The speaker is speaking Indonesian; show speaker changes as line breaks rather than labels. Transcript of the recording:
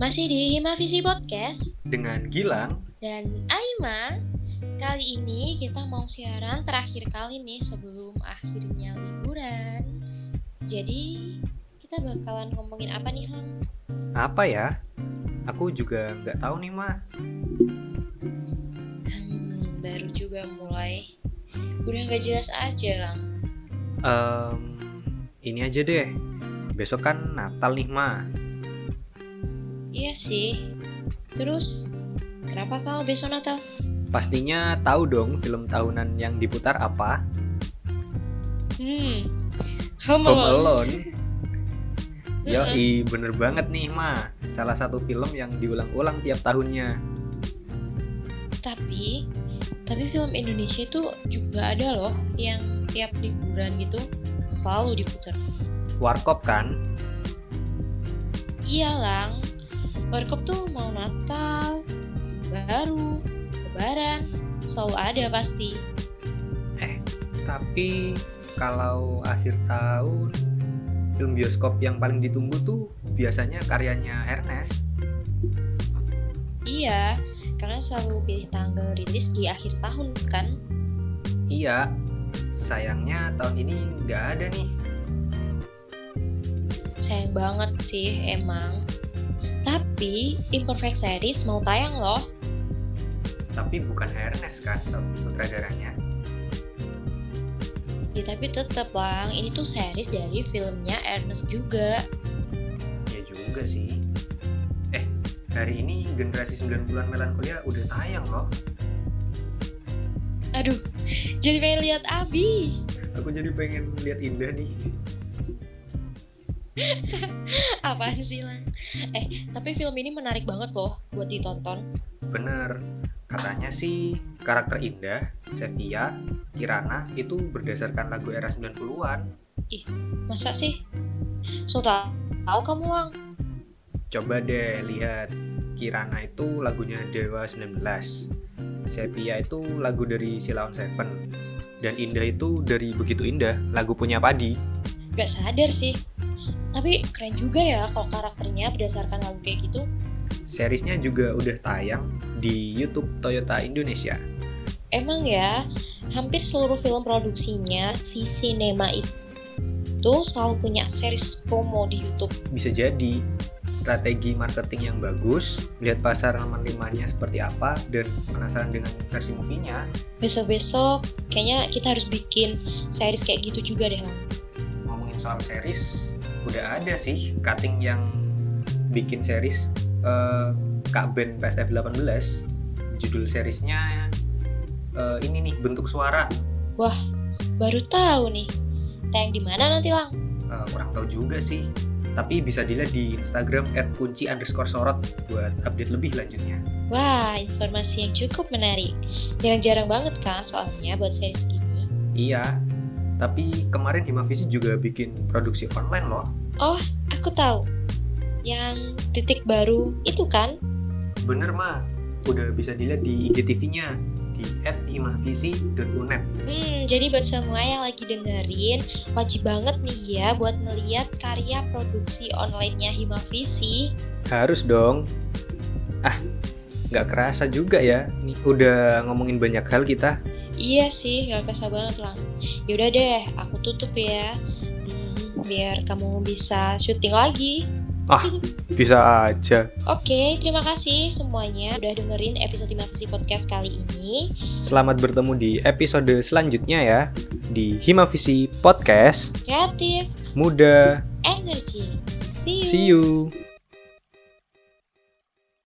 Masih di Himavisi Podcast
dengan Gilang.
dan Aima. Kali ini kita mau siaran terakhir kali nih sebelum akhirnya liburan. Jadi kita bakalan ngomongin apa nih Lang?
Apa ya? Aku juga nggak tahu nih Ma.
Hmm, baru juga mulai. Udah nggak jelas aja Lang.
Em, ini aja deh. Besok kan Natal nih Ma.
Iya sih. Terus kenapa kau besok Natal?
Pastinya tahu dong film tahunan yang diputar apa?
Hmm, Home
Home
Alone.
Alone. Yoi, bener banget nih Ma. Salah satu film yang diulang-ulang tiap tahunnya.
Tapi tapi film Indonesia itu juga ada loh yang tiap liburan gitu selalu diputar.
Warkop kan?
Iya lang, warkop tuh mau Natal, baru, Lebaran, selalu ada pasti.
Tapi kalau akhir tahun film bioskop yang paling ditunggu tuh biasanya karyanya Ernest.
Iya, karena selalu pilih tanggal rilis di akhir tahun kan.
Iya, sayangnya tahun ini nggak ada nih.
Sayang banget sih emang. Tapi Imperfect Series mau tayang loh.
Tapi bukan Ernest kan sut- sutradaranya.
Ya tapi tetep lang, ini tuh series dari filmnya Ernest juga.
Ya juga sih. Eh, hari ini generasi 9 bulan melankolia udah tayang loh.
Aduh, jadi pengen lihat Abi.
Aku jadi pengen lihat Indah nih.
Apaan sih lang? Eh, tapi film ini menarik banget loh buat ditonton.
Bener, katanya sih karakter Indah, Sevia, Kirana itu berdasarkan lagu era 90-an.
Masa sih? So tau tau kamu Wang?
Coba deh lihat, Kirana itu lagunya Dewa 19. Sepia itu lagu dari Silaun Seven. Dan Indah itu dari Begitu Indah, lagu punya Padi.
Gak sadar sih. Tapi keren juga ya kalau karakternya berdasarkan lagu kayak gitu.
Seriesnya juga udah tayang di YouTube Toyota Indonesia.
Emang ya, hampir seluruh film produksinya V Cinema itu selalu punya series promo di YouTube.
Bisa jadi strategi marketing yang bagus, lihat pasar menerimanya seperti apa, dan penasaran dengan versi movie-nya.
Besok-besok kayaknya kita harus bikin series kayak gitu juga deh. Lang.
Ngomongin soal series, udah ada sih cutting yang bikin series eh, Kak Ben PSF 18. Judul seriesnya eh, ini nih, Bentuk Suara.
Baru tahu nih. Tayang di mana nanti Lang?
Eh, kurang tahu juga sih, tapi bisa dilihat di Instagram @kunci underscore sorot buat update lebih lanjutnya.
Wah, informasi yang cukup menarik. Jarang-jarang banget kan soalnya buat series gini.
Iya, tapi kemarin Himavisi juga bikin produksi online loh.
Aku tahu. Yang titik baru itu kan?
Bener mah, udah bisa dilihat di IGTV-nya di @himavisi.unet.
Hmm, jadi buat semua yang lagi dengerin, wajib banget nih ya buat ngeliat karya produksi online-nya Himavisi.
Harus dong. Ah, nggak kerasa juga ya. Nih, udah ngomongin banyak hal kita.
Iya sih, gak kerasa banget lah. Yaudah deh, aku tutup ya. Hmm, biar kamu bisa syuting lagi.
Bisa aja.
Oke, terima kasih semuanya udah dengerin episode Himavisi Podcast kali ini.
Selamat bertemu di episode selanjutnya ya di Himavisi Podcast
Kreatif,
Muda.
energi. See you.
See you.